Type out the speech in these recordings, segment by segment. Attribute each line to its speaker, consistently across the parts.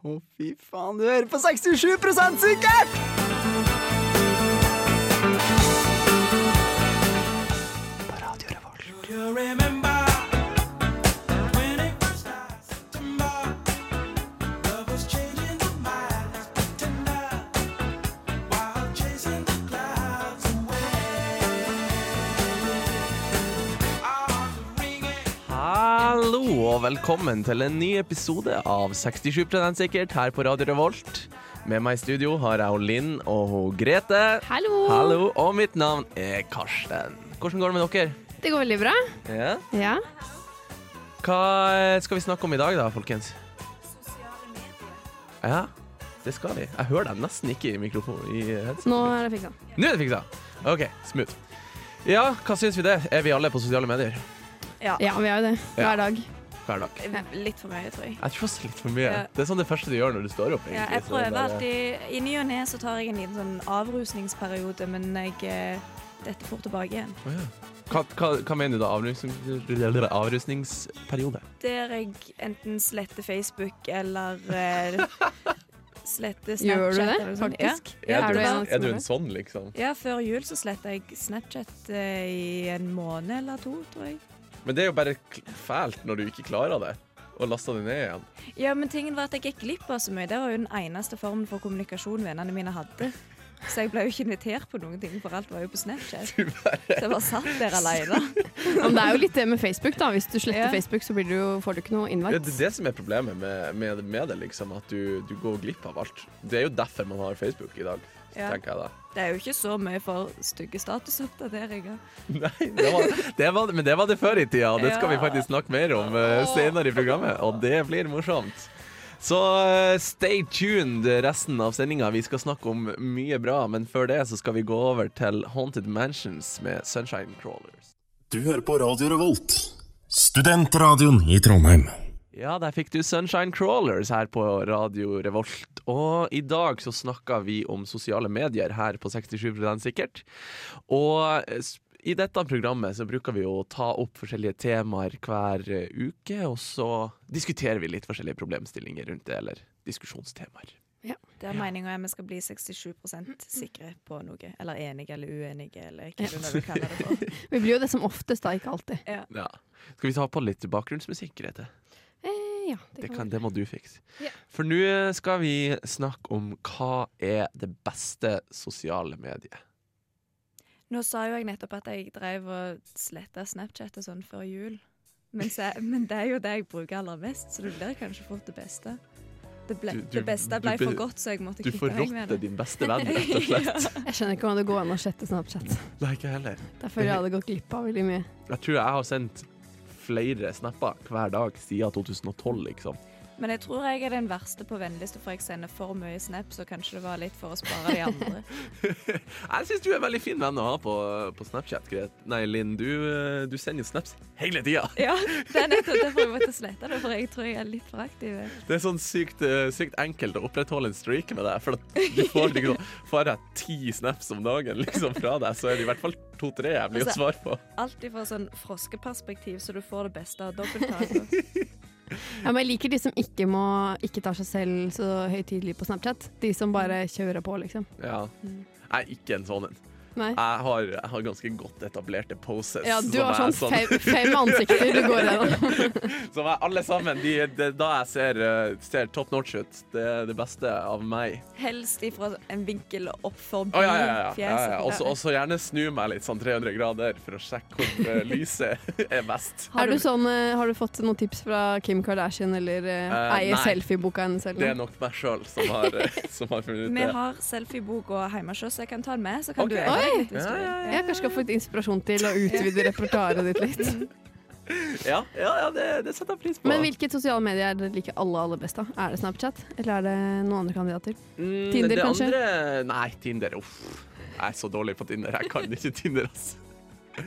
Speaker 1: Å, fy faen, du hører på 67 sikkert! På Radio Revolt.
Speaker 2: Hallo og velkommen til en ny episode av 67 sikkert her på Radio Revolt. Med meg i studio har jeg hun Linn og hun Grete.
Speaker 3: Hallo.
Speaker 2: Hallo, Og mitt navn er Karsten. Hvordan går det med dere?
Speaker 3: Det går veldig bra.
Speaker 2: Ja.
Speaker 3: Ja.
Speaker 2: Hva skal vi snakke om i dag da, folkens? Ja, det skal vi. Jeg hører deg nesten ikke i mikrofonen. I headsetet.
Speaker 3: Nå er det fiksa.
Speaker 2: Nå er det fiksa! OK, smooth. Ja, hva syns vi det? Er vi alle på sosiale medier
Speaker 3: Ja, vi er jo det.
Speaker 2: Ja.
Speaker 3: Hver dag.
Speaker 2: hver dag?
Speaker 4: Eh, Litt for mye, tror jeg.
Speaker 2: Jeg tror også litt for mye.
Speaker 4: Ja.
Speaker 2: Det er sånn det første du gjør når du står opp.
Speaker 4: Ja,
Speaker 2: egentlig,
Speaker 4: jeg
Speaker 2: så
Speaker 4: prøver
Speaker 2: bare-
Speaker 4: alltid I ny og ne så tar jeg en liten sånn avrusningsperiode, men jeg eh, detter fort tilbake igjen.
Speaker 2: Å, ja. hva, hva, hva mener du da? Avrusning, avrusningsperiode?
Speaker 4: Der jeg enten sletter Facebook eller eh, sletter Snapchat.
Speaker 3: Gjør du det,
Speaker 4: eller noe sånt.
Speaker 3: faktisk?
Speaker 4: Ja.
Speaker 3: Er du en av de
Speaker 2: er du
Speaker 3: som
Speaker 2: en sånn, liksom?
Speaker 4: Ja, før jul så sletta jeg Snapchat eh, i en måned eller to, tror jeg.
Speaker 2: Men det er jo bare k- fælt når du ikke klarer det, og laster det ned igjen.
Speaker 4: Ja, men tingen var at jeg gikk glipp av så mye. Det var jo den eneste formen for kommunikasjon vennene mine hadde. Så jeg ble jo ikke invitert på noen ting, for alt var jo på Snapchat.
Speaker 2: Du bare
Speaker 4: Så jeg bare satt der aleine.
Speaker 3: Ja, Men det er jo litt det med Facebook, da. Hvis du sletter
Speaker 4: Ja.
Speaker 3: Facebook, så blir du jo, får du ikke noe
Speaker 2: ja,
Speaker 3: invite.
Speaker 2: det er det som er problemet med, med, med det, liksom. At du, du går glipp av alt. Det er jo derfor man har Facebook i dag,
Speaker 4: Ja.
Speaker 2: tenker jeg da.
Speaker 4: Det er jo ikke så mye for stygge statusoppdateringer.
Speaker 2: Nei, det var, det var, men det var det før i tida, og det skal vi
Speaker 4: Ja.
Speaker 2: faktisk snakke mer om eh, senere i programmet. Og det blir morsomt. Så eh, stay tuned resten av sendinga. Vi skal snakke om mye bra, men før det så skal vi gå over til Haunted Mansions med Sunshine Crawlers.
Speaker 5: Du hører på Radio Revolt, studentradioen i Trondheim.
Speaker 2: Ja, der fikk du Sunshine Crawlers her på Radio Revolt. Og i dag så snakker vi om sosiale medier her på 67 sikkert. Og eh, s- i dette programmet så bruker vi å ta opp forskjellige temaer hver eh, uke, og så diskuterer vi litt forskjellige problemstillinger rundt det, eller diskusjonstemaer.
Speaker 4: Der meninga er vi skal bli 67 sikre på noe. Eller enige eller uenige, eller hva du nå vil kalle det for.
Speaker 3: Vi blir jo det som oftest, da. Ikke alltid.
Speaker 2: Ja. Skal vi ta på litt bakgrunnsmusikk, Grete?
Speaker 3: Eh, ja, det
Speaker 2: Det,
Speaker 3: kan
Speaker 2: kan,
Speaker 3: vi.
Speaker 2: det må du fikse.
Speaker 3: Ja.
Speaker 2: For nå skal vi snakke om hva er det beste sosiale mediet.
Speaker 4: Nå sa jo jeg nettopp at jeg drev og sletta Snapchat og sånn før jul. Men, så, men det er jo det jeg bruker aller mest, så det blir kanskje fort det beste. Det, ble,
Speaker 2: Du- du-
Speaker 4: det beste
Speaker 2: du
Speaker 4: ble
Speaker 2: be-
Speaker 4: for godt, så jeg måtte
Speaker 2: Du
Speaker 4: kvitte meg med
Speaker 2: forrotter
Speaker 4: det.
Speaker 2: din beste venn, rett og slett.
Speaker 3: Jeg skjønner ikke hvordan det går an å slette Snapchat.
Speaker 2: Nei, ikke heller.
Speaker 3: Der føler jeg hadde gått glipp av veldig mye.
Speaker 2: Jeg tror jeg har sendt flere snapper hver dag siden 2012, liksom.
Speaker 4: Men jeg tror jeg er den verste på vennliste, for jeg sender for mye snaps, og kanskje det var litt for å spare de andre.
Speaker 2: Jeg syns du er en veldig fin venn å ha på, på Snapchat. Gret. Nei, Linn, du, eh, du sender jo snaps hele tida.
Speaker 4: Ja, det er nettopp derfor jeg måtte slette det, for jeg tror jeg er litt for aktiv.
Speaker 2: Det er sånn sykt, eh, sykt enkelt å opprettholde en streak med deg. For at du får liksom, får jeg ti snaps om dagen liksom, fra deg, så er det i hvert fall to-tre jeg blir å
Speaker 4: Altså-
Speaker 2: svare på.
Speaker 4: Alt ifra sånn froskeperspektiv, så du får det beste av dobbelttaket.
Speaker 3: Ja, men jeg liker de som ikke, må, ikke tar seg selv så høytidelig på Snapchat. De som bare kjører på, liksom.
Speaker 2: Ja. Jeg er ikke en sånn en.
Speaker 3: Nei.
Speaker 2: Jeg har, jeg har ganske godt etablerte poses.
Speaker 3: Ja, du
Speaker 2: som
Speaker 3: har
Speaker 2: jeg
Speaker 3: sånn fem, fem ansikter du går gjennom.
Speaker 2: Som er alle sammen. De, det er da jeg ser, eh, ser top notch ut. Det er det beste av meg.
Speaker 4: Helst ifra en vinkel opp forbi
Speaker 2: Å, ja, ja, ja.
Speaker 3: Mm,
Speaker 2: ja, ja.
Speaker 4: fjeset.
Speaker 2: Også, også gjerne snu meg litt sånn 300 grader for å sjekke hvor eh, lyset er best.
Speaker 3: Er du sånn, eh, har du fått noen tips fra Kim Kardashian eller eh,
Speaker 2: Eh,
Speaker 3: eier
Speaker 2: nei.
Speaker 3: selfieboka hennes? eller
Speaker 2: Det er
Speaker 3: noe?
Speaker 2: nok meg sjøl som, har, eh, som har funnet ut
Speaker 4: Vi
Speaker 2: det.
Speaker 4: har selfiebok og hjemmesjø, så jeg kan ta den med. Så kan
Speaker 2: Ok.
Speaker 4: du eie den litt hvis
Speaker 2: Ja,
Speaker 4: du vil.
Speaker 2: ja, ja.
Speaker 3: Jeg kanskje skal få litt inspirasjon til å utvide repertoaret ditt litt.
Speaker 2: Ja, ja, ja det, det setter jeg pris på.
Speaker 3: Men hvilket sosiale medier er det liker alle aller best? da? Er det Snapchat, eller er det noen andre kandidater?
Speaker 2: Mm,
Speaker 3: Tinder,
Speaker 2: det
Speaker 3: kanskje?
Speaker 2: Andre, nei, Tinder. Uff. Jeg er så dårlig på Tinder. Jeg kan ikke Tinder, altså. ass.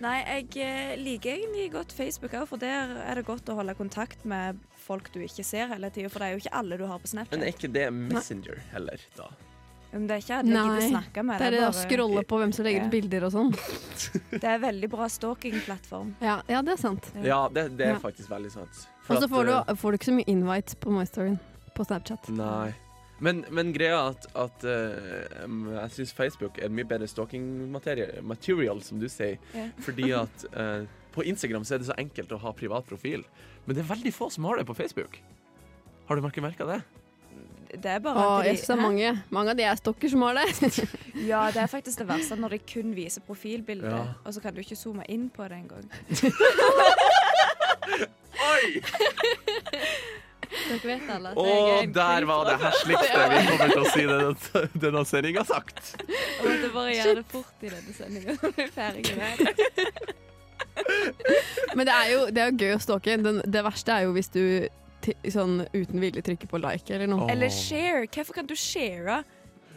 Speaker 4: Nei, jeg eh, liker egentlig godt Facebook òg, for der er det godt å holde kontakt med folk du ikke ser hele tida. For det er jo ikke alle du har på Snapchat.
Speaker 2: Men er ikke det Messenger heller, da?
Speaker 4: Men det er ikke alle jeg gidder
Speaker 3: Nei,
Speaker 4: snakke med.
Speaker 3: Det er det å
Speaker 4: bare-
Speaker 3: scrolle på hvem som legger ut
Speaker 4: Ja.
Speaker 3: bilder og sånn.
Speaker 4: det er veldig bra stalking-plattform.
Speaker 3: Ja, ja, det er sant.
Speaker 2: Ja, det, det er
Speaker 3: Ja.
Speaker 2: faktisk veldig sant. For
Speaker 3: Og så
Speaker 2: at,
Speaker 3: får,
Speaker 2: eh,
Speaker 3: du- får du ikke så mye invites på My Storyen. på Snapchat.
Speaker 2: Nei. Men, men greia er at, at eh, em, jeg syns Facebook er mye bedre stalking-material, som du sier.
Speaker 4: Ja.
Speaker 2: Fordi at eh, på Instagram så er det så enkelt å ha privat profil. Men det er veldig få som har det på Facebook. Har du ikke merka det?
Speaker 4: Det er bare
Speaker 3: Å,
Speaker 4: at de-
Speaker 3: jeg synes det er
Speaker 4: Hæ?
Speaker 3: mange. Mange av de er stokker som har det.
Speaker 4: Ja, det er faktisk det verste når de kun viser profilbildet,
Speaker 2: Ja.
Speaker 4: og så kan du ikke zoome inn på det engang.
Speaker 2: Oi!
Speaker 4: Dere vet alle at
Speaker 2: Å,
Speaker 4: jeg er en
Speaker 2: der var det hesligste vi kommer til å si denne, denne sendinga sagt.
Speaker 4: creep, og måtte bare gjøre det fort i denne sendinga. Ferdig.
Speaker 3: Men det er jo, det er jo gøy å stalke. Den, det verste er jo hvis du ti- sånn uten vilje trykker på like eller noe.
Speaker 2: Åh.
Speaker 4: Eller share. Hvorfor kan du share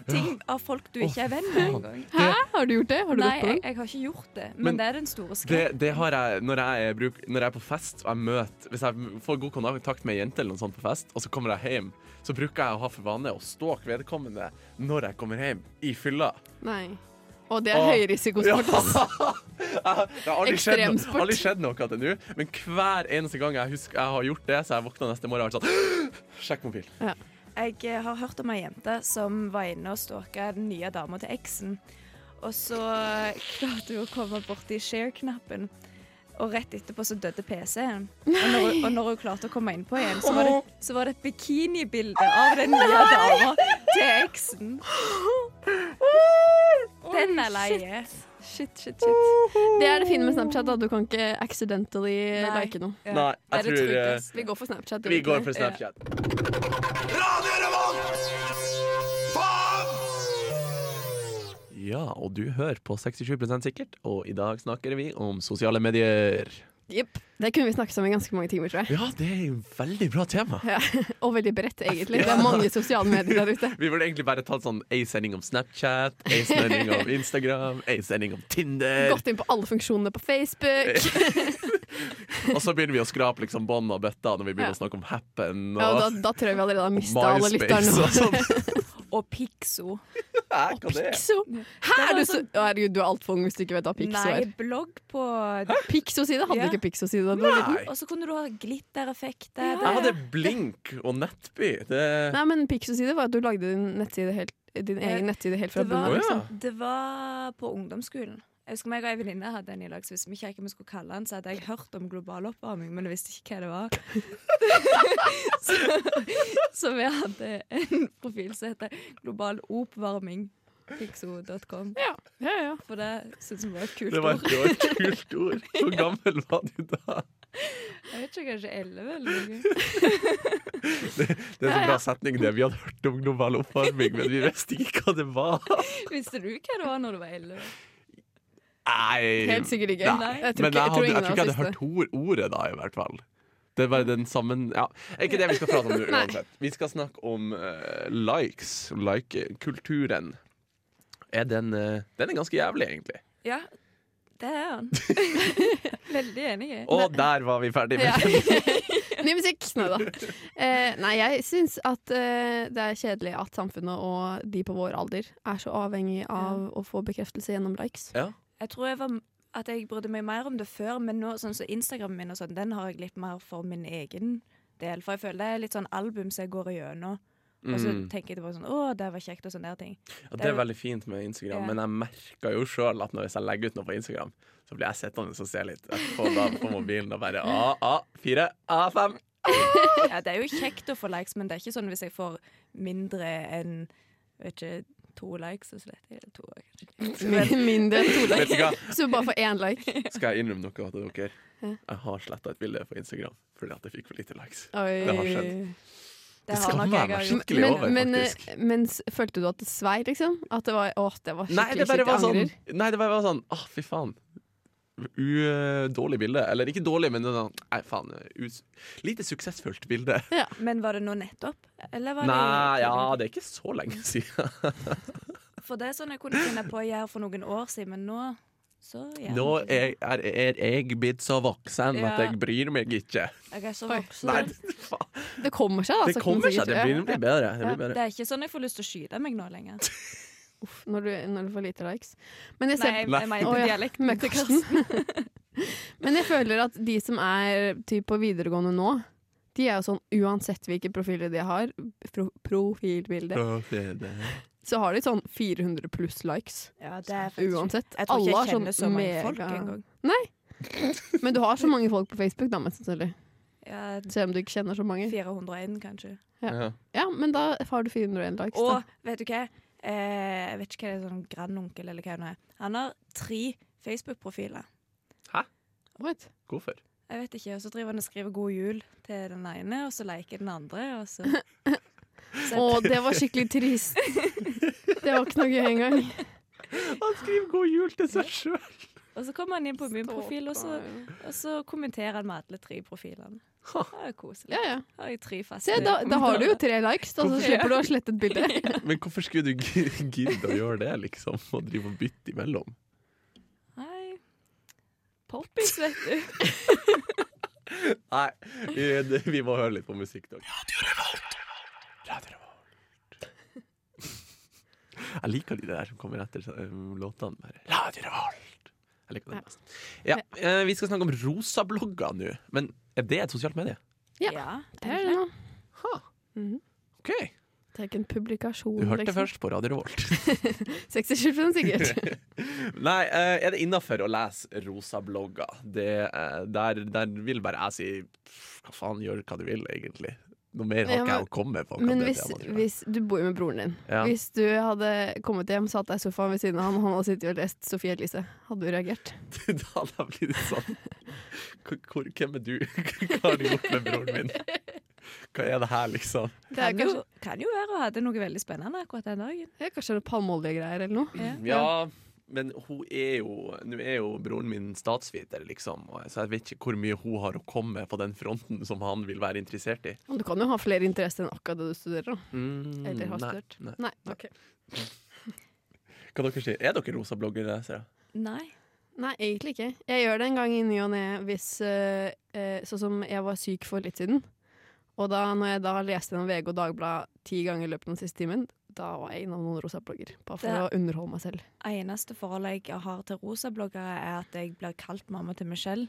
Speaker 4: ting av folk du ikke er venn med engang?
Speaker 3: Hæ, har du gjort det? Har du
Speaker 4: Nei,
Speaker 3: gått på
Speaker 4: jeg,
Speaker 3: den?
Speaker 4: jeg har ikke gjort det, men,
Speaker 2: Men
Speaker 4: det er den store
Speaker 2: Det,
Speaker 4: skrekken.
Speaker 2: det har jeg når jeg, er bruk, når jeg er på fest og jeg møter Hvis jeg får god kontakt med ei jente eller noe sånt på fest, og så kommer jeg hjem, så bruker jeg å ha for vane å stalke vedkommende når jeg kommer hjem i fylla.
Speaker 3: Nei. Og det er
Speaker 2: Åh. Ja.
Speaker 3: høyrisikosport. ass.
Speaker 2: Det har aldri skjedd, no-
Speaker 3: Ekstremsport.
Speaker 2: aldri skjedd noe til nå, men hver eneste gang jeg, husker, jeg har gjort det, så jeg våkna neste morgen og har vært sånn Sjekk mobil.
Speaker 4: Jeg eh, har hørt om ei jente som var inne og stalka den nye dama til eksen. Og så eh, klarte hun å komme borti share-knappen, og rett etterpå så dødde PC-en. Og, når hun- og når hun klarte å komme inn på igjen, så var det, så var det et bikinibilde av den nye dama til eksen. Den er leie.
Speaker 3: Shit, shit, shit. Det er det fine med Snapchat, da. Du kan ikke accidentally
Speaker 4: Nei.
Speaker 3: like noe.
Speaker 4: Ja.
Speaker 2: Nei,
Speaker 4: Det er
Speaker 2: jeg
Speaker 4: det
Speaker 2: tror eh,
Speaker 4: tryggeste.
Speaker 3: Vi går for Snapchat.
Speaker 2: Vi går
Speaker 3: egentlig.
Speaker 2: for Snapchat. Ja, og du hører på 67 sikkert, og i dag snakker vi om sosiale medier.
Speaker 3: Jepp. Det kunne vi snakket om i ganske mange timer, tror jeg.
Speaker 2: Ja, det er et veldig bra tema.
Speaker 3: Ja. Og veldig bredt, egentlig. Det er mange sosiale medier der ute.
Speaker 2: Vi burde egentlig bare tatt sånn ei sending om Snapchat, ei sending om Instagram, ei sending om Tinder.
Speaker 3: Gått inn på alle funksjonene på Facebook.
Speaker 2: Og så begynner vi å skrape liksom bånd og bøtta når vi begynner
Speaker 3: Ja.
Speaker 2: å snakke om Happen og,
Speaker 3: Ja, og da, da tror jeg vi allerede har mista alle lytterne.
Speaker 2: MySpace og sånn.
Speaker 4: Og Pixo.
Speaker 2: Hæ, hva det er?
Speaker 3: Pixo! Hæ,
Speaker 4: Det
Speaker 3: er
Speaker 4: var
Speaker 3: du så Å, Herregud, du er altfor ung hvis du ikke vet hva Pixo
Speaker 4: Nei,
Speaker 3: er.
Speaker 4: blogg på
Speaker 3: Pixo-side? Hadde
Speaker 4: Ja.
Speaker 3: ikke Pixo-side da du var liten?
Speaker 2: Nei.
Speaker 4: Og så kunne du ha glittereffekter.
Speaker 2: Jeg hadde blink og nettby. Det,
Speaker 3: Nei, men Pixo-side var at du lagde din, nettside helt, din
Speaker 4: Ja.
Speaker 3: egen nettside helt fra
Speaker 4: Det var,
Speaker 2: Å,
Speaker 3: bunnen av.
Speaker 2: ja.
Speaker 3: Liksom.
Speaker 4: det var på ungdomsskolen. Jeg husker meg og ei venninne hadde en i lag, så hvis vi ikke hva vi skulle kalle den, så hadde jeg hørt om global oppvarming, men jeg visste ikke hva det var. så, så vi hadde en profil som heter Global oppvarming. Pixo.com.
Speaker 3: Ja, ja, ja.
Speaker 4: For det syntes vi var et kult
Speaker 2: det var
Speaker 4: ord.
Speaker 2: det var et kult ord. Hvor gammel var du da?
Speaker 4: Jeg vet ikke, kanskje 11 eller noe.
Speaker 2: Det er en sånn bra setning det. Vi hadde hørt om global oppvarming, men vi visste ikke hva det var.
Speaker 4: Visste du hva det var når du var 11?
Speaker 2: Nei.
Speaker 3: Helt sikkert ikke.
Speaker 4: Nei.
Speaker 3: Jeg tror
Speaker 2: Men jeg,
Speaker 3: ikke, jeg tror
Speaker 2: hadde, jeg tror
Speaker 3: ingen
Speaker 2: ikke jeg
Speaker 3: av oss
Speaker 2: hadde
Speaker 3: visste
Speaker 2: hørt ord, ordet da, i hvert fall. Det er bare den sammen ja. Er ikke det vi skal prate om nå,
Speaker 3: Nei.
Speaker 2: uansett. Vi skal snakke om eh, likes. Like-kulturen. Er den eh, Den er ganske jævlig, egentlig.
Speaker 4: Ja, det er han. Veldig enig. i.
Speaker 2: Og der var vi ferdig med den.
Speaker 3: Ja. Ny musikk! Nei da. Eh, nei, jeg syns at eh, det er kjedelig at samfunnet og de på vår alder er så avhengig av å få bekreftelse gjennom likes.
Speaker 2: Ja.
Speaker 4: Jeg tror jeg var at jeg brydde meg mer om det før, men nå, sånn som Instagram min og sånn, den har jeg litt mer for min egen del. For jeg føler det er litt sånn album som jeg går igjennom, og så
Speaker 2: Mm.
Speaker 4: tenker jeg tilbake sånn Å, det var kjekt, og sånne der ting.
Speaker 2: Ja, det er veldig fint med Instagram,
Speaker 4: Ja.
Speaker 2: men jeg merker jo sjøl at når jeg legger ut noe på Instagram, så blir jeg sittende og se litt på, da, på mobilen og bare A4, A5.
Speaker 4: Ja, det er jo kjekt å få likes, men det er ikke sånn hvis jeg får mindre enn vet ikke, to likes, så sletter jeg to. kanskje.
Speaker 3: Min- Mindre enn to
Speaker 2: Vet du
Speaker 3: likes.
Speaker 2: hva?
Speaker 3: Så bare for én like.
Speaker 2: Skal jeg innrømme noe til dere?
Speaker 3: Ja.
Speaker 2: Jeg har sletta et bilde på Instagram fordi at jeg fikk for lite likes.
Speaker 3: Oi.
Speaker 2: Det har skjedd.
Speaker 4: Eh, Det
Speaker 2: skal
Speaker 4: har nok
Speaker 2: man
Speaker 4: jeg
Speaker 2: være
Speaker 4: har gjort.
Speaker 2: skikkelig over,
Speaker 3: men,
Speaker 2: faktisk.
Speaker 3: eh, men s- følte du at det svei, liksom? At det var åh, det var
Speaker 2: Nei,
Speaker 3: skikkelig
Speaker 2: det
Speaker 3: shit,
Speaker 2: bare var
Speaker 3: jeg
Speaker 2: sånn
Speaker 3: angrer.
Speaker 2: Nei, det bare var sånn Å, fy faen. U eh, dårlig bilde. Eller ikke dårlig, men det er sånn Nei, faen. us- Lite suksessfullt bilde.
Speaker 4: Men var det nå nettopp? Eller var det
Speaker 2: Nei, ja, det er ikke så lenge siden.
Speaker 4: For det er sånn jeg kunne finne på å gjøre for noen år siden, men nå så gjør jeg
Speaker 2: Nå
Speaker 4: ikke det.
Speaker 2: er, er, er jeg blitt så voksen at
Speaker 4: Ja.
Speaker 2: jeg bryr meg ikke.
Speaker 4: Jeg er så
Speaker 3: Oi.
Speaker 4: voksen.
Speaker 2: Nei, faen.
Speaker 3: Det kommer seg, da.
Speaker 2: Det
Speaker 3: sakte, men
Speaker 2: kommer seg.
Speaker 3: sikkert.
Speaker 2: Det blir, det blir bedre. Det
Speaker 3: Ja.
Speaker 2: blir bedre.
Speaker 4: Det er ikke sånn jeg får lyst til å skyte meg nå lenger.
Speaker 3: Uff, når, du, når du får lite likes. Men jeg
Speaker 4: Nei,
Speaker 3: ser
Speaker 4: jeg,
Speaker 2: Nei.
Speaker 4: jeg
Speaker 3: Å,
Speaker 4: mente
Speaker 3: ja.
Speaker 4: dialekten.
Speaker 3: Med Karsten. Men jeg føler at de som er typ på videregående nå, De er jo sånn uansett hvilke profiler de har, pro profilbilde, så har de sånn 400 pluss likes.
Speaker 4: Ja, det er faktisk
Speaker 3: Uansett.
Speaker 4: Jeg tror ikke jeg
Speaker 3: Alle
Speaker 4: kjenner
Speaker 3: har sånn
Speaker 4: så mange folk
Speaker 3: mega-
Speaker 4: engang.
Speaker 3: Men du har så mange folk på Facebook, da, mest sannsynlig.
Speaker 4: Ja,
Speaker 3: Selv om du ikke kjenner så mange.
Speaker 4: 401, kanskje.
Speaker 2: Ja.
Speaker 3: Ja, men da har du 401 likes, da.
Speaker 4: Og vet du hva? Eh, jeg vet ikke hva det er sånn grandonkel eller hva det er. Han har tre Facebook-profiler.
Speaker 3: What?
Speaker 2: Hvorfor?
Speaker 4: Jeg vet ikke, og Så driver han og skriver 'god jul' til den ene, og så liker den andre. Og så
Speaker 3: Å, det var skikkelig trist. Det var ikke noe gøy engang.
Speaker 2: Han skriver 'god jul' til seg sjøl!
Speaker 4: Og så kommer han inn på min profil, og så, og så kommenterer han med alle tre profilene. Ja, Det er koselig.
Speaker 3: Ja, ja.
Speaker 4: Har jeg tre faste
Speaker 3: Se, da, da har du jo tre likes, da, så
Speaker 2: Hvorfor-
Speaker 3: slipper du å slette et bilde.
Speaker 2: Men hvorfor skulle du gi- gidde å gjøre det, liksom? Og drive og bytte imellom?
Speaker 4: Nei. Poppis, vet du.
Speaker 2: Nei, vi, det- vi må høre litt på musikk, dere. Radio Revolt. Jeg liker de der som kommer etter um, låtene. Bare. Radio Revolt. Jeg liker
Speaker 3: Ja.
Speaker 2: det best. Ja, eh, vi skal snakke om rosablogger nå. Men er det et sosialt medie?
Speaker 3: Ja. Det er det nå.
Speaker 2: Ha.
Speaker 3: Mhm. Liksom.
Speaker 2: OK.
Speaker 3: Det er ikke en publikasjon,
Speaker 2: Du hørte det først på Radio Revolt.
Speaker 3: 67 sikkert.
Speaker 2: Nei, eh, er det innafor å lese rosa blogger? Det, eh, der, der vil bare jeg si pff, hva faen, gjør hva du vil, egentlig. Noe mer har
Speaker 3: Ja,
Speaker 2: ikke
Speaker 3: men-
Speaker 2: jeg å komme på.
Speaker 3: Men hvis, hvis du bor jo med broren din.
Speaker 2: Ja.
Speaker 3: Hvis du hadde kommet hjem, satt deg i sofaen ved siden av han, og han hadde sittet og lest Sofie Elise, hadde du reagert?
Speaker 2: Da hadde jeg blitt sånn hvor, hvor, Hvem er du? Hva har du gjort med broren min? Hva er det her, liksom?
Speaker 3: Det er
Speaker 4: Kan
Speaker 3: kanskje,
Speaker 4: jo, kan jo være hun hadde noe veldig spennende akkurat den dagen.
Speaker 3: det er kanskje noe palmeoljegreier eller noe.
Speaker 4: Ja.
Speaker 2: Ja, men hun er jo Nå er jo broren min statsviter, liksom, og- så jeg vet ikke hvor mye hun har å komme med på den fronten som han vil være interessert i.
Speaker 3: Men Du kan jo ha flere interesser enn akkurat det du studerer, da.
Speaker 2: Mm,
Speaker 3: Eller har
Speaker 2: nei,
Speaker 3: studert.
Speaker 2: nei.
Speaker 3: Nei, ok.
Speaker 2: Hva dere sier? Er dere rosa bloggerlesere?
Speaker 4: Nei.
Speaker 3: Nei, egentlig ikke. Jeg gjør det en gang i ny og ne hvis eh, eh, Sånn som jeg var syk for litt siden. Og da når jeg da leste gjennom VG og Dagbladet ti ganger i løpet av den siste timen, da var jeg innom noen rosa blogger. Bare for
Speaker 4: Det-
Speaker 3: å underholde meg selv.
Speaker 4: Eneste forholdet jeg har til rosabloggere, er at jeg blir kalt mamma til Michelle.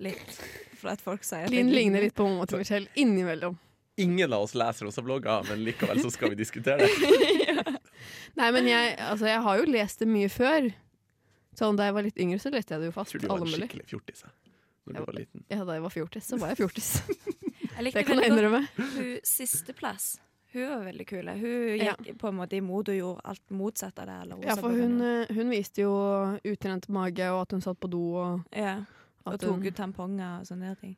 Speaker 4: Litt. For at folk sier at
Speaker 3: Linn
Speaker 4: jeg
Speaker 3: ligner litt på mamma til Michelle innimellom.
Speaker 2: Ingen av oss leser rosa blogger, men likevel så skal vi diskutere det.
Speaker 3: Nei, men jeg, altså, jeg har jo lest det mye før. Sånn Da jeg var litt yngre, så leste jeg det jo
Speaker 2: Jeg
Speaker 3: fast.
Speaker 2: tror du var
Speaker 3: Alle
Speaker 2: en
Speaker 3: mulig.
Speaker 2: skikkelig fjortis jeg, når du
Speaker 3: Jeg
Speaker 2: var liten.
Speaker 3: Ja, da jeg var fjortis, så var jeg fjortis.
Speaker 4: Jeg likte
Speaker 3: Det kan jeg
Speaker 4: veldig
Speaker 3: innrømme.
Speaker 4: godt hun sisteplass. Hun var veldig kul. Hun
Speaker 3: Ja.
Speaker 4: gikk på en måte imot og gjorde alt motsatt av det. Eller
Speaker 3: Ja, for hun, eh, hun viste jo utrent mage, og at hun satt på do, og
Speaker 4: ja. Og
Speaker 3: eh, at
Speaker 4: tok
Speaker 3: hun
Speaker 4: ut tamponger og sånne ting.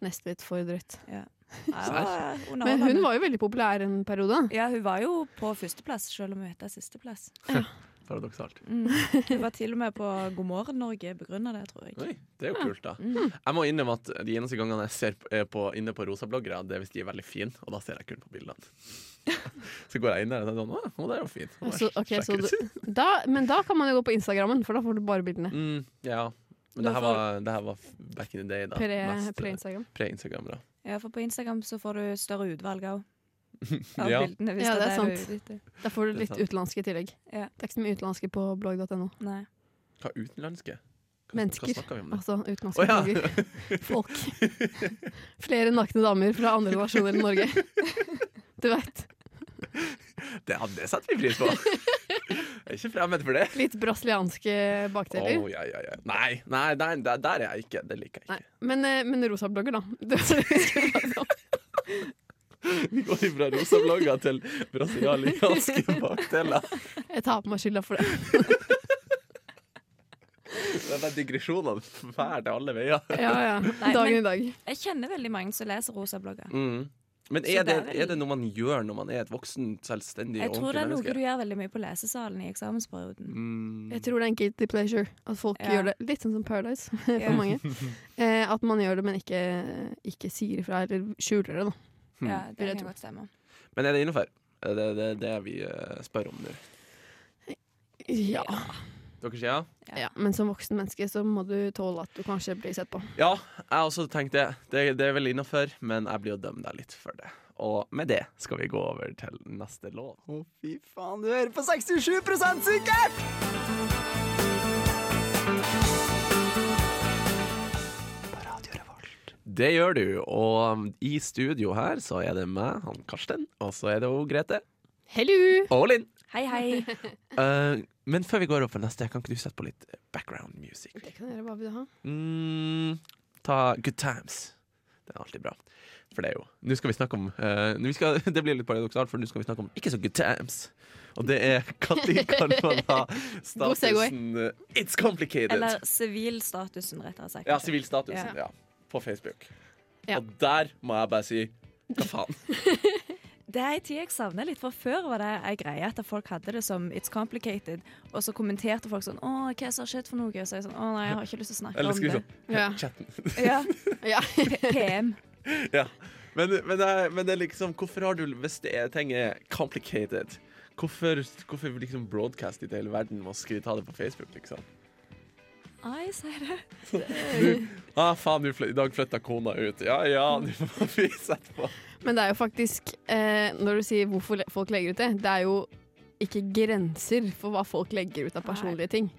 Speaker 3: nesten litt for drøyt.
Speaker 4: Ja, det var
Speaker 3: Men hun
Speaker 4: underholdende.
Speaker 3: var jo veldig populær en periode.
Speaker 4: ja, hun var jo på førsteplass, selv om hun heter sisteplass.
Speaker 2: Paradoksalt.
Speaker 4: Mm. Hun var til og med på God morgen Norge begrunna det, tror jeg.
Speaker 2: Oi, det er jo kult, da.
Speaker 3: Mhm.
Speaker 2: Jeg må innrømme at de eneste gangene jeg ser på, er på, inne på rosa bloggere, det er hvis de er veldig fine, og da ser jeg kun på bildene. Så går jeg inn der og tenker sånn, å, å, det er jo fint. Og bare
Speaker 3: Så- ok, så
Speaker 2: sjekker ut.
Speaker 3: Da, men da kan man jo gå på Instagrammen, for da får du bare bildene.
Speaker 2: Mm, ja. Men
Speaker 3: Da
Speaker 2: det her,
Speaker 3: får-
Speaker 2: var, det her var f- back in the day, da.
Speaker 3: Pre-
Speaker 2: Mest, eh,
Speaker 3: Pre-Instagram.
Speaker 2: Pre-Instagram, da.
Speaker 4: Ja, for på Instagram så får du større utvalg òg. Av
Speaker 2: Ja.
Speaker 4: bildene, hvis
Speaker 3: Ja, det
Speaker 4: det er
Speaker 3: er
Speaker 4: det du er ute etter.
Speaker 3: da får du
Speaker 2: Det er
Speaker 3: litt
Speaker 2: sant.
Speaker 3: utenlandske i tillegg.
Speaker 4: Ja.
Speaker 3: Det er ikke så mye utenlandske på blogg.no.
Speaker 4: Nei.
Speaker 2: Hva utenlandske? Hva,
Speaker 3: Mennesker.
Speaker 2: Hva snakker vi om det?
Speaker 3: Altså utenlandske
Speaker 2: Å, ja.
Speaker 3: blogger. Folk. Flere nakne damer fra andre nasjoner enn Norge. Du veit.
Speaker 2: Det, ja, det setter vi pris på. Jeg er ikke fremmed for det.
Speaker 3: Litt brasilianske bakdeler.
Speaker 2: Åh, ja, ja, ja. Nei, nei, nei der, der er jeg ikke. Det liker jeg
Speaker 3: Nei,
Speaker 2: ikke.
Speaker 3: men, eh, men rosa blogger, da. Det var det vi skulle prate om.
Speaker 2: Vi går fra rosa blogger til brasilianske bakdeler.
Speaker 3: Jeg tar på meg skylda for det.
Speaker 2: Det er bare digresjonene fæle til alle veier.
Speaker 3: Ja, ja.
Speaker 4: men-
Speaker 3: Dagen i dag.
Speaker 4: Jeg kjenner veldig mange som leser rosa blogger.
Speaker 2: Mm. Men
Speaker 4: Så
Speaker 2: er det,
Speaker 4: det er vel-
Speaker 2: er det noe man gjør når man er et voksen, selvstendig
Speaker 4: Jeg
Speaker 2: og
Speaker 4: tror det
Speaker 2: ordentlig
Speaker 4: er noe
Speaker 2: menneske?
Speaker 4: du gjør veldig mye på lesesalen i eksamensperioden.
Speaker 2: Mm.
Speaker 3: Jeg tror det er en guilty pleasure. At folk
Speaker 4: Ja.
Speaker 3: gjør det litt sånn som Paradise for
Speaker 4: Ja.
Speaker 3: mange. Eh, at man gjør det, men ikke, ikke sier ifra eller skjuler det. Da.
Speaker 2: Hmm.
Speaker 4: Ja,
Speaker 3: Vil
Speaker 4: det
Speaker 3: jeg
Speaker 4: kan
Speaker 3: tro.
Speaker 4: godt stemme.
Speaker 2: Men er det innenfor? Er Det er det, det vi eh, spør om nå.
Speaker 3: Ja.
Speaker 2: Dere sier ja?
Speaker 3: ja. Men som voksen menneske så må du tåle at du kanskje blir sett på.
Speaker 2: Ja, jeg har også tenkt det. Det, det er vel innafor, men jeg blir å dømme deg litt for det. Og med det skal vi gå over til neste låt.
Speaker 1: Å, fy faen, du hører på 67 sikkert!
Speaker 2: Det gjør du. Og i studio her så er det meg, han Karsten, og så er det hun Grete.
Speaker 3: Hello!
Speaker 2: Og Linn.
Speaker 4: Hei, hei.
Speaker 2: Eh, men før vi går opp for neste, kan ikke du sette på litt background music?
Speaker 3: Det kan dere bare vil ha.
Speaker 2: Mm, ta Good Times. Den er alltid bra. For det er jo Nå skal vi snakke om eh, vi skal, Det blir litt paradoksalt, for nå skal vi snakke om ikke så good times. Og det er når kan man ha
Speaker 3: God segway.
Speaker 2: statusen eh, It's complicated.
Speaker 4: Eller sivilstatusen, rettere sagt.
Speaker 2: ja, sivil status.
Speaker 4: Ja.
Speaker 2: Ja. På Facebook.
Speaker 3: Ja.
Speaker 2: Og der må jeg bare si hva faen.
Speaker 4: Det er en tid jeg savner litt, for før var det en greie at folk hadde det som it's complicated, og så kommenterte folk sånn 'Å, hva er det som har skjedd for noe?' Og så er jeg sånn 'Å nei, jeg har ikke lyst til å snakke
Speaker 2: Eller
Speaker 4: om
Speaker 2: skriv
Speaker 4: det'.
Speaker 2: sånn.
Speaker 3: Ja.
Speaker 2: Chatten.
Speaker 4: Ja,
Speaker 3: ja.
Speaker 4: PM.
Speaker 2: ja. men, men, det er, men det er liksom Hvorfor har du Hvis det er ting er complicated, hvorfor, hvorfor liksom broadcast i hele verden med å skrive ta det på Facebook, liksom?
Speaker 4: Ai, sier det.
Speaker 2: Ah, faen, du fly- i dag flytta kona ut. Ja ja, nå må vi sette på.
Speaker 3: Men det er jo faktisk, eh, når du sier hvorfor le- folk legger ut det, det er jo ikke grenser for hva folk legger ut av personlige ting.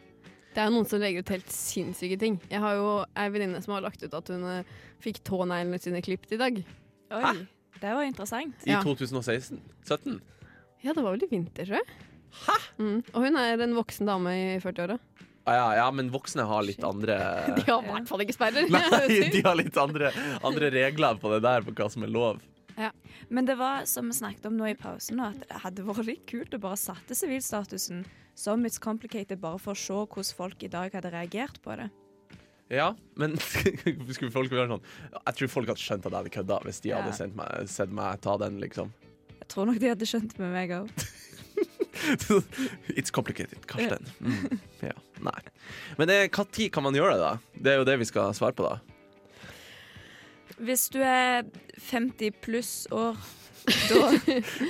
Speaker 3: Det er jo noen som legger ut helt sinnssyke ting. Jeg har jo ei venninne som har lagt ut at hun eh, fikk tåneglene sine klippet i dag.
Speaker 4: Oi, det var interessant.
Speaker 2: I
Speaker 3: Ja.
Speaker 2: 2016? 17?
Speaker 3: Ja, det var vel i vinter, tror jeg. Mm. Og hun er en voksen dame i 40-åra.
Speaker 2: Ah, ja, ja, men voksne har litt andre
Speaker 3: De har i hvert fall ikke sperrer.
Speaker 2: Nei, de har litt andre, andre regler på det der, på hva som er lov.
Speaker 4: Men det var, som vi snakket om nå i pausen, nå, at det hadde vært litt kult å bare sette sivilstatusen som it's complicated, bare for å se hvordan folk i dag hadde reagert på det.
Speaker 2: Ja, men skulle folk være sånn Jeg tror folk hadde skjønt at jeg hadde kødda hvis de
Speaker 4: Ja.
Speaker 2: hadde sendt meg, sett meg ta den, liksom.
Speaker 4: Jeg tror nok de hadde skjønt med meg òg.
Speaker 2: It's complicated, Karsten. Mm. Ja, nei. Men når kan man gjøre det, da? Det er jo det vi skal svare på, da.
Speaker 4: Hvis du er 50 pluss år, da,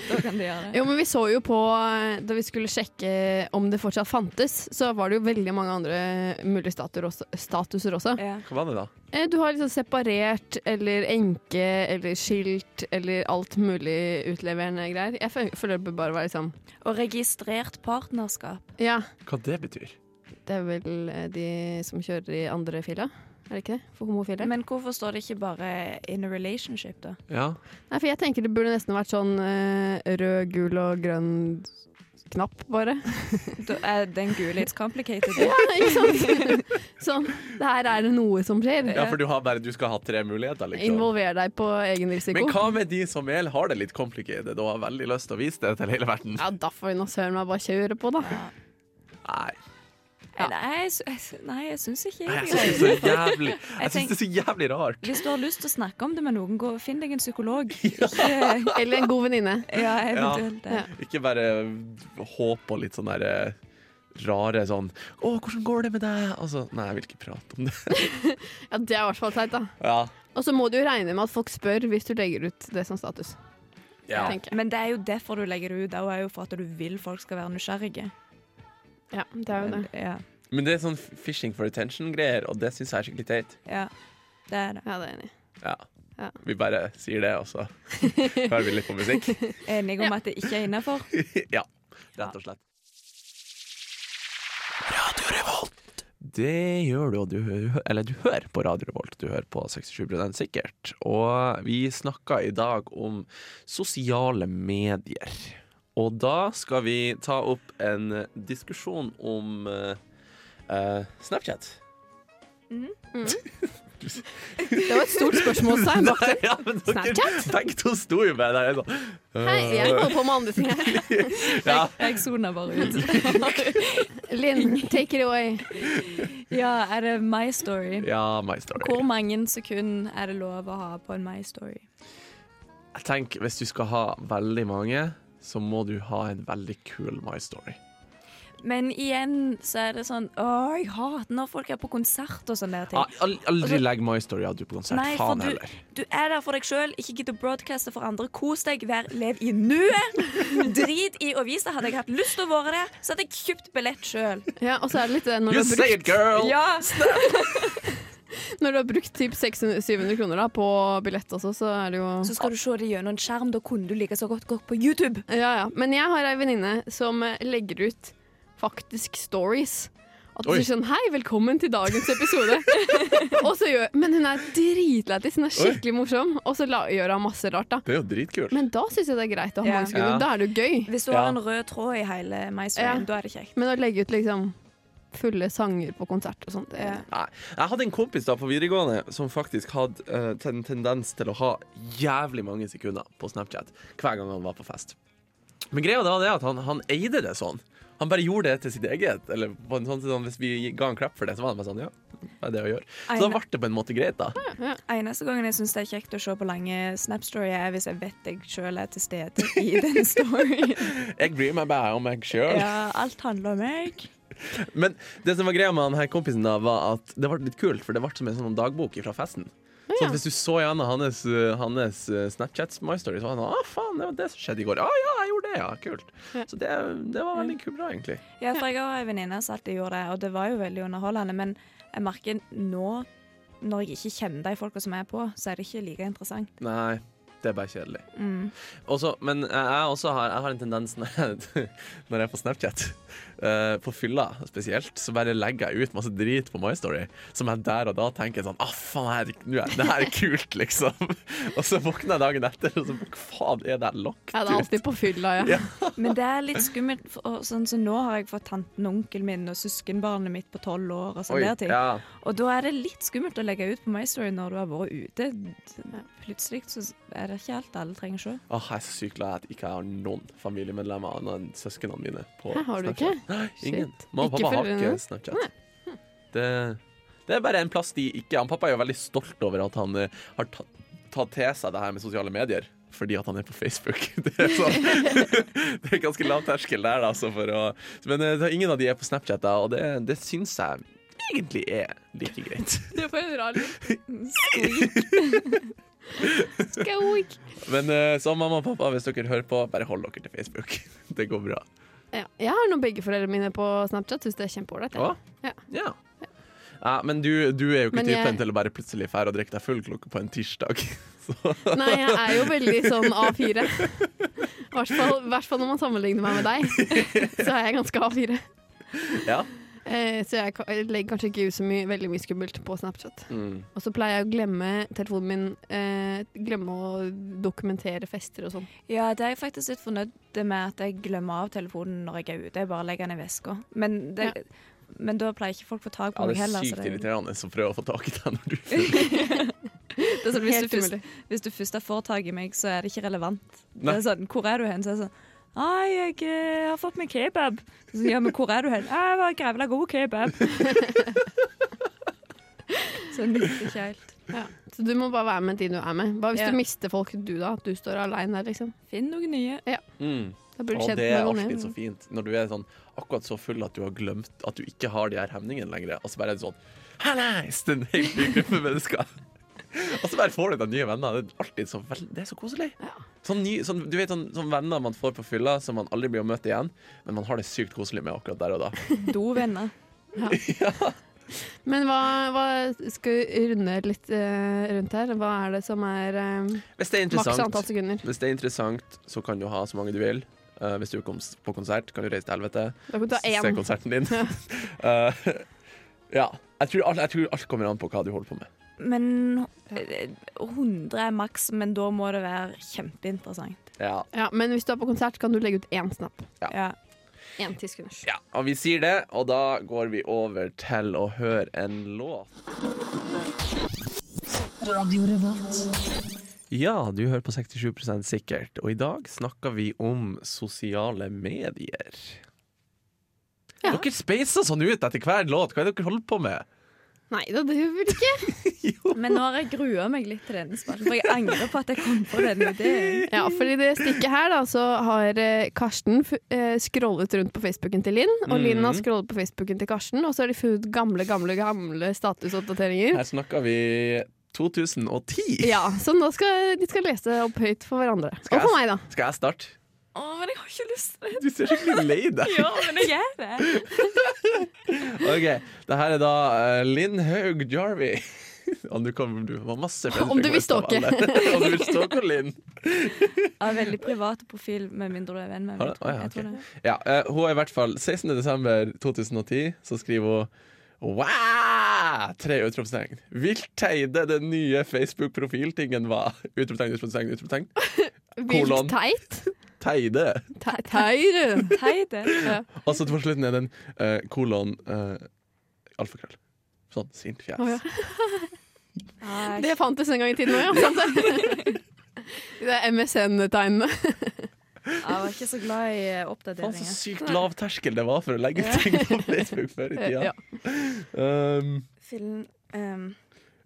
Speaker 4: da kan de gjøre det.
Speaker 3: Jo, men vi så jo på eh, Da vi skulle sjekke om det fortsatt fantes, så var det jo veldig mange andre mulige statuer også, statuser også.
Speaker 4: Ja.
Speaker 2: Hva var det, da?
Speaker 3: Eh, Du har liksom separert eller enke eller skilt eller alt mulig utleverende greier. Jeg fø- føler det bør bare være liksom
Speaker 4: Og registrert partnerskap.
Speaker 3: Ja,
Speaker 2: Hva det betyr?
Speaker 3: det er vel eh, de som kjører i andre fila, er det ikke det? For homofile?
Speaker 4: Men hvorfor står det ikke bare 'in a relationship', da?
Speaker 2: Ja.
Speaker 3: Nei, for jeg tenker det burde nesten vært sånn eh, rød, gul og grønn knapp, bare.
Speaker 4: da er den gule 'it's complicated'.
Speaker 3: ikke sant? sånn. Det her er det noe som skjer.
Speaker 2: Ja, for du, har bare, du skal ha tre muligheter, liksom.
Speaker 3: Involver deg på egen risiko.
Speaker 2: Men hva med de som er, har det litt complicated og har veldig lyst til å vise det til hele verden?
Speaker 3: Ja, da får vi nå søren meg bare kjøre på, da.
Speaker 2: Nei.
Speaker 3: Ja.
Speaker 4: Nei, jeg sy- Nei, jeg syns ikke
Speaker 2: Nei, Jeg
Speaker 4: jeg
Speaker 2: syns det er så jævlig Jeg synes
Speaker 4: tenk-
Speaker 2: det er så jævlig rart.
Speaker 4: Hvis du har lyst til å snakke om det med noen, gå, finn deg en psykolog. Ikke
Speaker 3: Eller en god venninne.
Speaker 4: Ja, eventuelt det.
Speaker 3: Ja.
Speaker 2: Ikke bare håp og litt sånn der eh, rare sånn 'Å, hvordan går det med deg?' Altså, nei, jeg vil ikke prate om det.
Speaker 3: Ja, det er i hvert fall teit, da.
Speaker 2: Ja.
Speaker 3: Og så må du jo regne med at folk spør hvis du legger ut det som status.
Speaker 2: ja.
Speaker 3: tenker jeg.
Speaker 4: Men det er jo derfor du legger det ut. Det er jo for at du vil folk skal være nysgjerrige.
Speaker 3: Ja, det er jo det.
Speaker 4: Ja,
Speaker 2: Men det er sånn fishing for attention-greier, og det syns jeg er skikkelig teit.
Speaker 4: ja. Det er det.
Speaker 3: Ja, det er jeg enig. i.
Speaker 2: Ja.
Speaker 3: Ja.
Speaker 2: Vi bare sier det, og så hører vi litt på musikk.
Speaker 4: Enig om at det ikke er innafor.
Speaker 2: ja, rett og slett. Radio Revolt. Det gjør du, og du, hø- eller du hører på Radio Revolt. Du hører på 67 sikkert. Og vi snakker i dag om sosiale medier. Og da skal vi ta opp en diskusjon om eh, eh, Snapchat.
Speaker 3: Det var et stort spørsmålstegn bak den.
Speaker 2: ja, men
Speaker 3: Snapchat?
Speaker 2: Begge to sto jo med der. jeg sånn,
Speaker 3: Hei, jeg holder på med andre ting her.
Speaker 2: Ja,
Speaker 4: Jeg soner bare ut.
Speaker 3: Linn, take it away.
Speaker 4: Ja, er det my story?
Speaker 2: ja, my story.
Speaker 4: Hvor mange sekunder er det lov å ha på en my story?
Speaker 2: Jeg tenker, Hvis du skal ha veldig mange, så må du ha en veldig cool My Story.
Speaker 4: Men igjen så er det sånn Å, jeg hater når folk er på konsert og sånne der ting.
Speaker 2: Ah, al- aldri legg My Story av du på konsert.
Speaker 4: Nei, for
Speaker 2: Faen
Speaker 4: du,
Speaker 2: heller.
Speaker 4: du er der for deg sjøl, ikke gidd å broadcaste for andre. Kos deg, vær, lev i nuet! Drit i å vise. Hadde jeg hatt lyst til å være der, så hadde jeg kjøpt billett sjøl.
Speaker 3: Ja, og så er det litt det når
Speaker 2: You
Speaker 3: du har
Speaker 2: say
Speaker 3: brukt,
Speaker 2: it, girl!
Speaker 4: Ja.
Speaker 3: når du har brukt typ 600-700 kroner da, på billett også, så er det jo
Speaker 4: Så skal du se det gjennom en skjerm. Da kunne du like så godt gått på YouTube.
Speaker 3: Ja, ja. Men jeg har ei venninne som eh, legger ut faktisk stories At
Speaker 2: Oi.
Speaker 3: hun sier sånn Hei, velkommen til dagens episode. og så gjør, men hun er dritlættis. Hun er skikkelig morsom. Og så la, gjør hun masse rart, da.
Speaker 2: Det er jo dritkult.
Speaker 3: Men da syns jeg det er greit å ha
Speaker 4: Ja.
Speaker 3: menneskeskulder.
Speaker 2: Ja.
Speaker 3: Da er det jo gøy.
Speaker 4: Hvis du
Speaker 2: Ja.
Speaker 4: har en rød tråd i hele
Speaker 3: Ja.
Speaker 4: maisveien, da er det kjekt.
Speaker 3: Men å legge ut liksom fulle sanger på konsert og sånt, det
Speaker 4: Ja.
Speaker 2: Nei. Jeg hadde en kompis da på videregående som faktisk hadde eh, ten- tendens til å ha jævlig mange sekunder på Snapchat hver gang han var på fest. Men greia da det er at han, han eide det sånn. Han bare gjorde det til sitt eget. Eller på en sånn, sånn, Hvis vi ga en klapp for det, så var han bare sånn Ja, det er det å gjøre. Så da ble det på en måte greit, da.
Speaker 4: Eneste gangen jeg syns det er kjekt å se på lange Snap-storyer, er hvis jeg vet jeg sjøl er til stede i den storyen.
Speaker 2: Jeg bryr meg bare om meg sjøl.
Speaker 4: Ja, alt handler om meg.
Speaker 2: Men det som var greia med han her kompisen da var at det ble litt kult, for det ble som en sånn dagbok fra festen. Så at hvis du så gjennom hans, uh, hans uh, Snapchat My Story, så var han sånn Å, faen, det var det som skjedde i går. Å ja, jeg gjorde det, ja. Kult. Så det, det var veldig kult, bra, egentlig.
Speaker 4: Ja, for jeg har en venninne som alltid gjorde det, og det var jo veldig underholdende. Men jeg merker nå, når jeg ikke kjenner de folka som er på, så er det ikke like interessant.
Speaker 2: Nei. Det er bare kjedelig.
Speaker 4: Mm.
Speaker 2: Også, men jeg, jeg også har, jeg har en tendens når jeg, når jeg er på Snapchat, eh, på fylla spesielt, så bare legger jeg ut masse drit på My Story som jeg der og da tenker sånn Å, faen, her, nå er, det her er kult, liksom. og så våkner jeg dagen etter, og så faen, er det her lokket
Speaker 3: Ja, det er alltid på fylla, ja.
Speaker 2: Ja.
Speaker 4: Men det er litt skummelt, for, og sånn som nå har jeg fått tanten og onkelen min og søskenbarnet mitt på tolv år og sånne der ting.
Speaker 2: ja.
Speaker 4: Og da er det litt skummelt å legge ut på MyStory når du har vært ute. Plutselig så er det ikke alt alle trenger å se.
Speaker 2: Åh, jeg er så sykt glad at jeg ikke har noen familiemedlemmer annet enn søsknene mine. På
Speaker 3: Hæ, har du
Speaker 2: Snapchat.
Speaker 3: ikke?
Speaker 2: Nei, ingen.
Speaker 3: Shit.
Speaker 2: Mamma og
Speaker 3: Ikke
Speaker 2: pappa har
Speaker 3: følgende?
Speaker 2: ikke Snapchat. Det, det er bare en plass de ikke Han pappa er jo veldig stolt over at han eh, har tatt, tatt til seg det her med sosiale medier. Fordi at han er på Facebook. Det er, sånn, det er ganske lav terskel der, da. Altså, for å, men eh, ingen av de er på Snapchat, da, og det, det syns jeg egentlig er like greit.
Speaker 3: Du får en rar Skoik.
Speaker 2: Men eh, så mamma og pappa, hvis dere hører på, bare hold dere til Facebook. Det går bra.
Speaker 3: Ja. Jeg har nå begge foreldrene mine på Snapchat, syns det er kjempeålreit. jeg.
Speaker 2: Å?
Speaker 3: Ja.
Speaker 2: Ja. Ja, men du, du er jo ikke
Speaker 3: Men jeg-
Speaker 2: typen til å bare plutselig fære og drikke deg full klokka på en tirsdag. Så,
Speaker 3: Nei, jeg er jo veldig sånn A4. I hvert fall, hvert fall når man sammenligner meg med deg, så er jeg ganske A4.
Speaker 2: ja.
Speaker 3: Eh, så jeg, ka- jeg legger kanskje ikke ut så mye, veldig mye skummelt på Snapchat.
Speaker 2: Mm.
Speaker 3: Og så pleier jeg å glemme telefonen min, eh, glemme å dokumentere fester og sånn.
Speaker 4: Ja, det er jeg faktisk litt fornøyd med at jeg glemmer av telefonen når jeg er ute. Jeg bare legger den i veska. Men, det, men da pleier ikke folk få
Speaker 2: ja,
Speaker 4: tak på
Speaker 2: det
Speaker 4: meg
Speaker 2: er
Speaker 4: heller. så
Speaker 2: sykt
Speaker 4: det-
Speaker 2: irriterende å prøve å få tak i deg når du er full.
Speaker 4: Det er sånn, hvis,
Speaker 3: Helt
Speaker 4: du først,
Speaker 3: umulig.
Speaker 4: hvis du først har fått tak i meg, så er det ikke relevant.
Speaker 2: Nei.
Speaker 4: Det er sånn, hvor er du hen? Så er det sånn, Nei, jeg eh, har fått meg kebab. Så, ja, men hvor er du hen? «Nei, Jeg var grevla god kebab. så det nytter ikke helt.
Speaker 3: Ja. Så du må bare være med de du er med. Hva hvis
Speaker 4: Ja.
Speaker 3: du mister folk du, da? At du står aleine der, liksom.
Speaker 4: Finn noen nye.
Speaker 2: Mm.
Speaker 3: Da blir du
Speaker 2: Og
Speaker 3: kjent
Speaker 2: det
Speaker 3: med
Speaker 2: er
Speaker 3: noen
Speaker 2: alltid
Speaker 3: nye.
Speaker 2: så fint når du er sånn akkurat så full at du har glemt at du ikke har de her hemningene lenger. Og så bare er det sånn Hallais! Det er en helt ny gruppe mennesker. Og så bare får du deg nye venner. Det er alltid så, vel- det er så koselig. Sånn ny, sånn, du vet sånn, sånn venner man får på fylla som man aldri blir å møte igjen, men man har det sykt koselig med akkurat der og da.
Speaker 4: Dovenner.
Speaker 3: Men hva, hva skal vi runde litt eh, rundt her? Hva er det som er eh,
Speaker 2: Hvis det er
Speaker 3: maks
Speaker 2: interessant,
Speaker 3: antall sekunder?
Speaker 2: Hvis det er interessant, så kan du ha så mange du vil. Eh, hvis du kom s- på konsert, kan du reise til helvete.
Speaker 3: Da kan du ta
Speaker 2: Se
Speaker 3: én.
Speaker 2: konserten din. Eh, ja. Jeg tror, alt, jeg tror alt kommer an på hva du holder på med.
Speaker 4: Men eh, 100 er maks, men da må det være kjempeinteressant.
Speaker 2: Ja.
Speaker 3: Ja, men hvis du er på konsert, kan du legge ut én snap.
Speaker 4: Ja.
Speaker 3: Én ti sekunders.
Speaker 2: ja. Og vi sier det, og da går vi over til å høre en låt. Ja, du hører på 67 sikkert, og i dag snakker vi om sosiale medier.
Speaker 3: Ja.
Speaker 2: Dere speiser sånn ut etter hver låt. Hva er det dere holder på med?
Speaker 3: Nei da, det gjør vi vel ikke.
Speaker 4: Men nå har jeg grua meg litt til denne spalten, for jeg angrer på at jeg kom på denne ideen.
Speaker 3: Ja, for i det stikket her da, så har eh, Karsten fu- eh, scrollet rundt på Facebooken til Linn, og Linn har
Speaker 2: Mhm.
Speaker 3: scrollet på Facebooken til Karsten, og så har de funnet gamle, gamle, gamle statusoppdateringer.
Speaker 2: Her snakker vi 2010.
Speaker 3: Ja, så nå skal de skal lese opp høyt for hverandre.
Speaker 2: Skal
Speaker 3: Og for
Speaker 2: jeg-
Speaker 3: meg, da.
Speaker 2: Skal jeg starte?
Speaker 4: Å, men jeg har ikke lyst til det.
Speaker 2: Du ser skikkelig lei deg.
Speaker 4: Ja, men jeg er det.
Speaker 2: Ok, Det her er da eh, Linn Haug Jarvey Om du, kom, du var masse
Speaker 3: Om du vil
Speaker 2: Facebook-post av
Speaker 3: stalke.
Speaker 2: alle. Om du vil stalke Linn.
Speaker 4: Av veldig privat profil, med mindre du er venn med
Speaker 2: Har
Speaker 4: meg.
Speaker 2: det? Å, ja,
Speaker 4: Jeg tror
Speaker 2: ok.
Speaker 4: det.
Speaker 2: Ja, eh, hun er i hvert fall 16.12.2010 Så skriver hun Wow! Tre utropstegn Vilteide den nye Facebook-profiltingen var Utropstegn, utropstegn, utropstegn Kolon.
Speaker 3: Vilt teit.
Speaker 2: Teide
Speaker 3: Te- Teir.
Speaker 4: Hei, det.
Speaker 2: Og så på slutten er den eh, kolon eh, Alfakrøll Sånn, sint fjes
Speaker 3: Å, ja.
Speaker 4: Nei,
Speaker 3: Det fantes en gang i tiden òg, ja. sant det? De der MSN-tegnene.
Speaker 4: Jeg var ikke så glad i eh,
Speaker 2: Faen så
Speaker 4: oppdateringer.
Speaker 2: sykt lav terskel det var for å legge ut ting på Facebook før i tida
Speaker 3: Ja.
Speaker 2: um,
Speaker 4: Filmen ehm,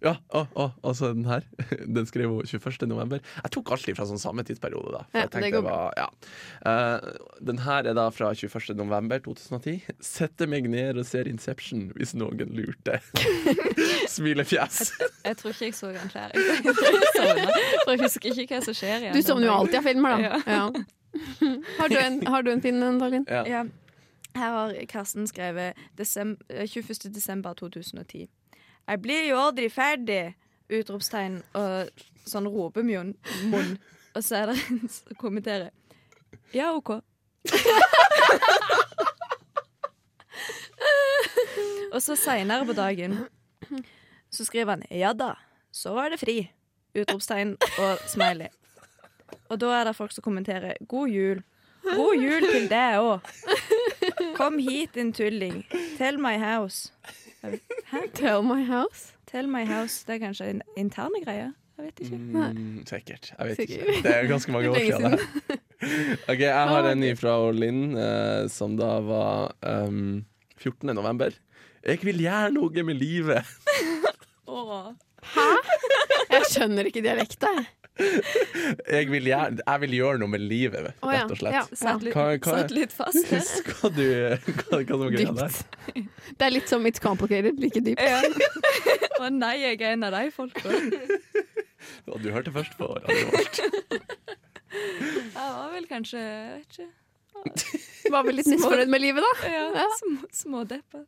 Speaker 2: Ja, å, å, altså den her. Den skrev hun 21. november. Jeg tok alltid fra sånn samme tidsperiode, da. For
Speaker 3: Ja,
Speaker 2: jeg tenkte
Speaker 3: det går
Speaker 2: det var, ja. Eh, den her er da fra 21. november 2010. Setter meg ned og ser Inception hvis noen lurte. Smilefjes.
Speaker 4: Jeg tror ikke jeg så den skjære. Jeg sovna, For jeg husker ikke hva som skjer igjen.
Speaker 3: Du sovner jo alltid av filmer, da.
Speaker 4: Ja.
Speaker 3: Ja. Har, du en, har du en fin en, Daglin?
Speaker 2: Ja.
Speaker 4: Ja. Her har Karsten skrevet desem- eh, 21. desember 2010. Jeg blir jo aldri ferdig! Utropstegn og sånn ropemunn. munn. Og så er det en som kommenterer. Ja, OK. og så seinere på dagen så skriver han ja da, så var det fri. Utropstegn og smiley. Og da er det folk som kommenterer god jul. God jul til deg òg. Kom hit, din tulling. Tell my house. Hæ?
Speaker 3: Tell my house.
Speaker 4: Tell my house. Det er kanskje en interne greie? Jeg vet ikke.
Speaker 2: Mm, sikkert. Jeg vet
Speaker 3: Sikkert.
Speaker 2: ikke. Det er ganske mange år
Speaker 3: Lenge
Speaker 2: siden. det her. Ok, Jeg har en ny fra Linn, eh, som da var um, 14. november. Jeg vil gjøre noe med livet.
Speaker 3: Jeg skjønner ikke dialekta, jeg.
Speaker 2: Jeg vil, gjerne, jeg vil gjøre noe med livet,
Speaker 3: Å, ja.
Speaker 2: rett og slett.
Speaker 3: Ja.
Speaker 4: Satt litt,
Speaker 2: Hva- hva-
Speaker 4: satt litt fast der.
Speaker 2: Skal du Hva, hva som var greia der?
Speaker 3: Dypt. Det er litt som It's Complicated, like dypt.
Speaker 4: Ja. Å nei, jeg er en av de folka. Jeg
Speaker 2: Ja, Du hørte først på Radio Volt.
Speaker 4: var vel kanskje jeg vet ikke.
Speaker 3: Var vel litt misfornøyd med livet, da.
Speaker 4: Ja, små, smådeppa.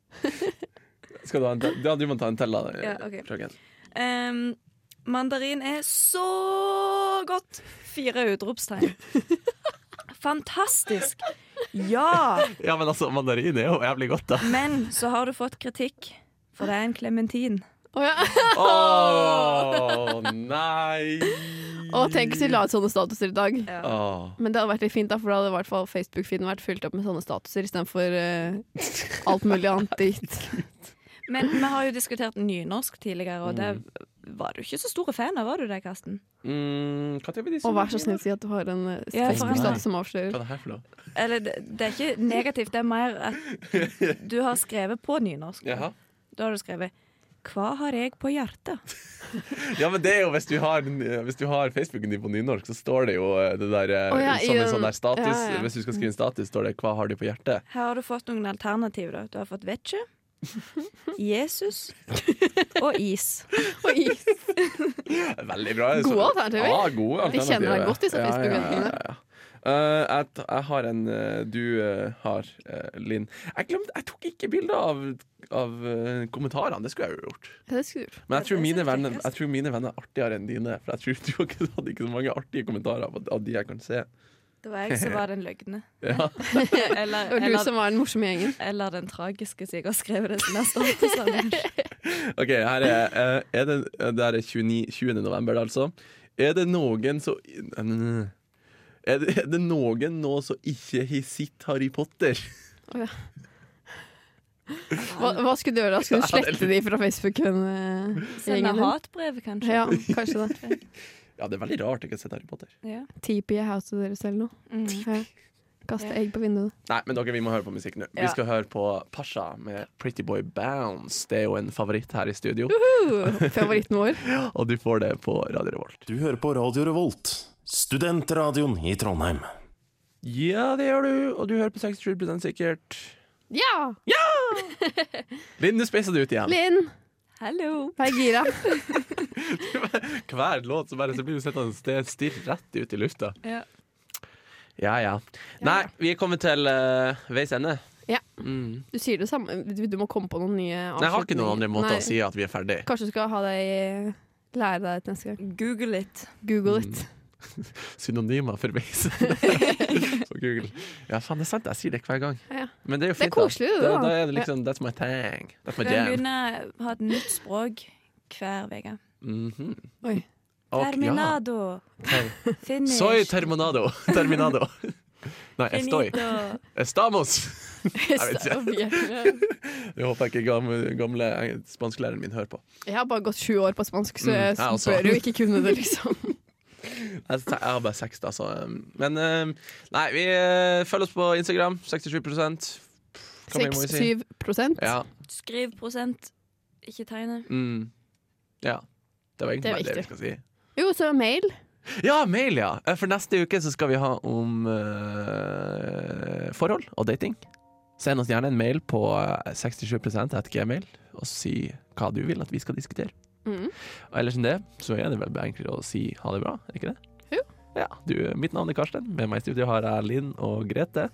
Speaker 2: Skal du ha en te- Ja, du må ta en til, da.
Speaker 4: Ja, ok.
Speaker 2: Klokken.
Speaker 4: Ehm, mandarin er så godt! Fire utropstegn. Fantastisk! Ja!
Speaker 2: ja, men altså, mandarin er jo jævlig godt, da.
Speaker 4: Men så har du fått kritikk, for det er en klementin.
Speaker 3: Å, ja.
Speaker 2: Å nei!
Speaker 3: Og tenk hvis vi la ut sånne statuser i dag.
Speaker 2: Åh.
Speaker 3: Men det hadde vært litt fint, da, for da hadde i hvert fall Facebook-feeden vært fylt opp med sånne statuser istedenfor uh, alt mulig annet dritt.
Speaker 4: Men vi har jo diskutert nynorsk tidligere, og det var du ikke så stor fan av, var du det, Karsten?
Speaker 2: Mm, hva vil de
Speaker 3: Og vær så snill, si at du har en eh,
Speaker 2: han
Speaker 4: Ja, for
Speaker 2: er-
Speaker 3: Facebook-status som avslører.
Speaker 2: Hva er det her for noe?
Speaker 4: Eller det, det er ikke negativt, det er mer at du har skrevet på nynorsk.
Speaker 2: Jaha.
Speaker 4: Da har du skrevet 'Hva har jeg på hjertet?'
Speaker 2: Ja, men det er jo hvis du har, hvis du har Facebooken din på nynorsk, så står det jo eh, det der eh,
Speaker 3: Å ja, i
Speaker 2: som en
Speaker 3: den-
Speaker 2: sånn der status.
Speaker 3: ja, ja.
Speaker 2: Hvis du skal skrive en status, står det 'Hva har du på hjertet?'
Speaker 4: Her har du fått noen alternativ, da. Du har fått vetsje, Jesus og is.
Speaker 3: Oi,
Speaker 2: Veldig bra.
Speaker 3: Gode alternativer.
Speaker 2: Ja, gode
Speaker 3: Jeg kjenner
Speaker 2: alternativer.
Speaker 3: deg godt, disse Facebook-vennene.
Speaker 2: Eh, jeg, t- jeg har en eh, du eh, har, eh, Linn. Jeg glemte, jeg tok ikke bilde av, av eh, kommentarene. Det skulle jeg jo gjort.
Speaker 3: det skulle du gjort.
Speaker 2: Men jeg
Speaker 4: Ja,
Speaker 2: tror,
Speaker 4: det
Speaker 2: mine
Speaker 4: synes jeg er
Speaker 2: venner,
Speaker 4: kjekkest.
Speaker 2: jeg tror mine venner er artigere enn dine. For jeg tror du har ikke hadde ikke så mange artige kommentarer av, av de jeg kan se.
Speaker 4: Det var jeg som var den løgne.
Speaker 2: Ja.
Speaker 4: Eller,
Speaker 3: Det var du
Speaker 4: eller,
Speaker 3: som var den morsomme gjengen.
Speaker 4: eller den tragiske som jeg har skrevet det som er statusene.
Speaker 2: Ok, her er, eh, er det, eh, det her er 29, 20. november, da, altså. Er det noen som Mm. er det, er det noen nå som ikke har sett Harry Potter?
Speaker 3: Hva, hva skulle du gjøre da? Skulle du slette de fra Facebook-gjengen
Speaker 4: Sende
Speaker 3: din?
Speaker 4: hatbrev, kanskje.
Speaker 3: Ja, kanskje det.
Speaker 2: Ja, det er veldig rart ikke å ha sett Harry Potter.
Speaker 4: Ja.
Speaker 3: Tipi i huset deres eller noe.
Speaker 2: Mm.
Speaker 3: Ja. Kaste egg på vinduet.
Speaker 2: Nei, men dere, vi må høre på musikk nå.
Speaker 4: Ja.
Speaker 2: Vi skal høre på Pasha med Pretty Boy Bounce. Det er jo en favoritt her i studio,
Speaker 3: Uh, favoritten vår.
Speaker 2: og du får det på Radio Revolt.
Speaker 5: Du hører på Radio Revolt, studentradioen i Trondheim.
Speaker 2: Ja, det gjør du, og du hører på 67 sikkert.
Speaker 3: Ja!
Speaker 2: Linn, du spissa det ut igjen.
Speaker 3: Linn,
Speaker 4: Hallo.
Speaker 3: vær gira.
Speaker 2: Hver låt så bare så blir du sittende sted stirr rett ut i lufta.
Speaker 4: Ja.
Speaker 2: Ja, ja. Nei, vi er kommet til eh, veis ende
Speaker 3: Ja.
Speaker 2: Mm.
Speaker 3: Du sier det samme. Du, du må komme på noen nye
Speaker 2: Nei, jeg har ikke noen andre måter
Speaker 3: Nei.
Speaker 2: å si at vi er ferdig.
Speaker 3: Kanskje du skal ha deg eh, lære deg til neste gang.
Speaker 4: Google it.
Speaker 3: Google
Speaker 2: Mm.
Speaker 3: it.
Speaker 2: Synonymer for beise. På Google. Ja, faen, det er sant. Jeg sier det hver gang.
Speaker 3: Ja, ja.
Speaker 2: Men det er jo
Speaker 3: Det er
Speaker 2: fint,
Speaker 3: koselig, det,
Speaker 2: da.
Speaker 3: da.
Speaker 2: Da er det liksom That's my thing. That's
Speaker 4: Du
Speaker 2: my
Speaker 4: kan
Speaker 2: jam.
Speaker 4: begynne å ha et nytt språk hver uke.
Speaker 2: Mhm.
Speaker 3: Oi.
Speaker 2: Og- ja.
Speaker 4: Terminado.
Speaker 2: Ter-
Speaker 4: Finish.
Speaker 2: Soy eh, terminado. Terminado. Nei, estoy.
Speaker 4: Finito.
Speaker 2: Estamos. Jeg
Speaker 3: Jeg, jeg
Speaker 2: Det håper jeg ikke gamle, gamle spansklæreren min hører på.
Speaker 3: har bare gått sju år på spansk, så
Speaker 2: Mm,
Speaker 3: jeg
Speaker 2: jeg også.
Speaker 3: bør jo ikke kunne det, liksom.
Speaker 2: Jeg jeg har bare seks, da, så um, Men um, nei, vi eh, følg oss på Instagram. 67 Hva mer må vi si?
Speaker 3: 6-7 prosent.
Speaker 2: Ja.
Speaker 4: Skriv prosent, ikke tegnet.
Speaker 2: Mm. ja. Det var egentlig
Speaker 3: Det er
Speaker 2: bare det vi
Speaker 3: viktig.
Speaker 2: skal si.
Speaker 3: Jo, så mail.
Speaker 2: Ja, mail, ja! Eh, For neste uke så skal vi ha om eh, forhold og dating. Send oss gjerne en mail på eh, 67 at gmail, og si hva du vil at vi skal diskutere.
Speaker 3: Mm.
Speaker 2: Og ellers enn det, så er det vel bare enklere å si ha det bra, er ikke det?
Speaker 3: Jo.
Speaker 2: Ja, du, mitt navn er Karsten. Med meg i studio har jeg Linn og Grete.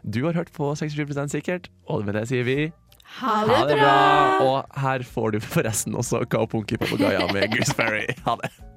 Speaker 2: Du har hørt på 67 sikkert, og med det sier vi
Speaker 3: Ha
Speaker 2: ha det bra! Og her får du forresten også Kaopunki Papagaya med Gooseberry. Ha det.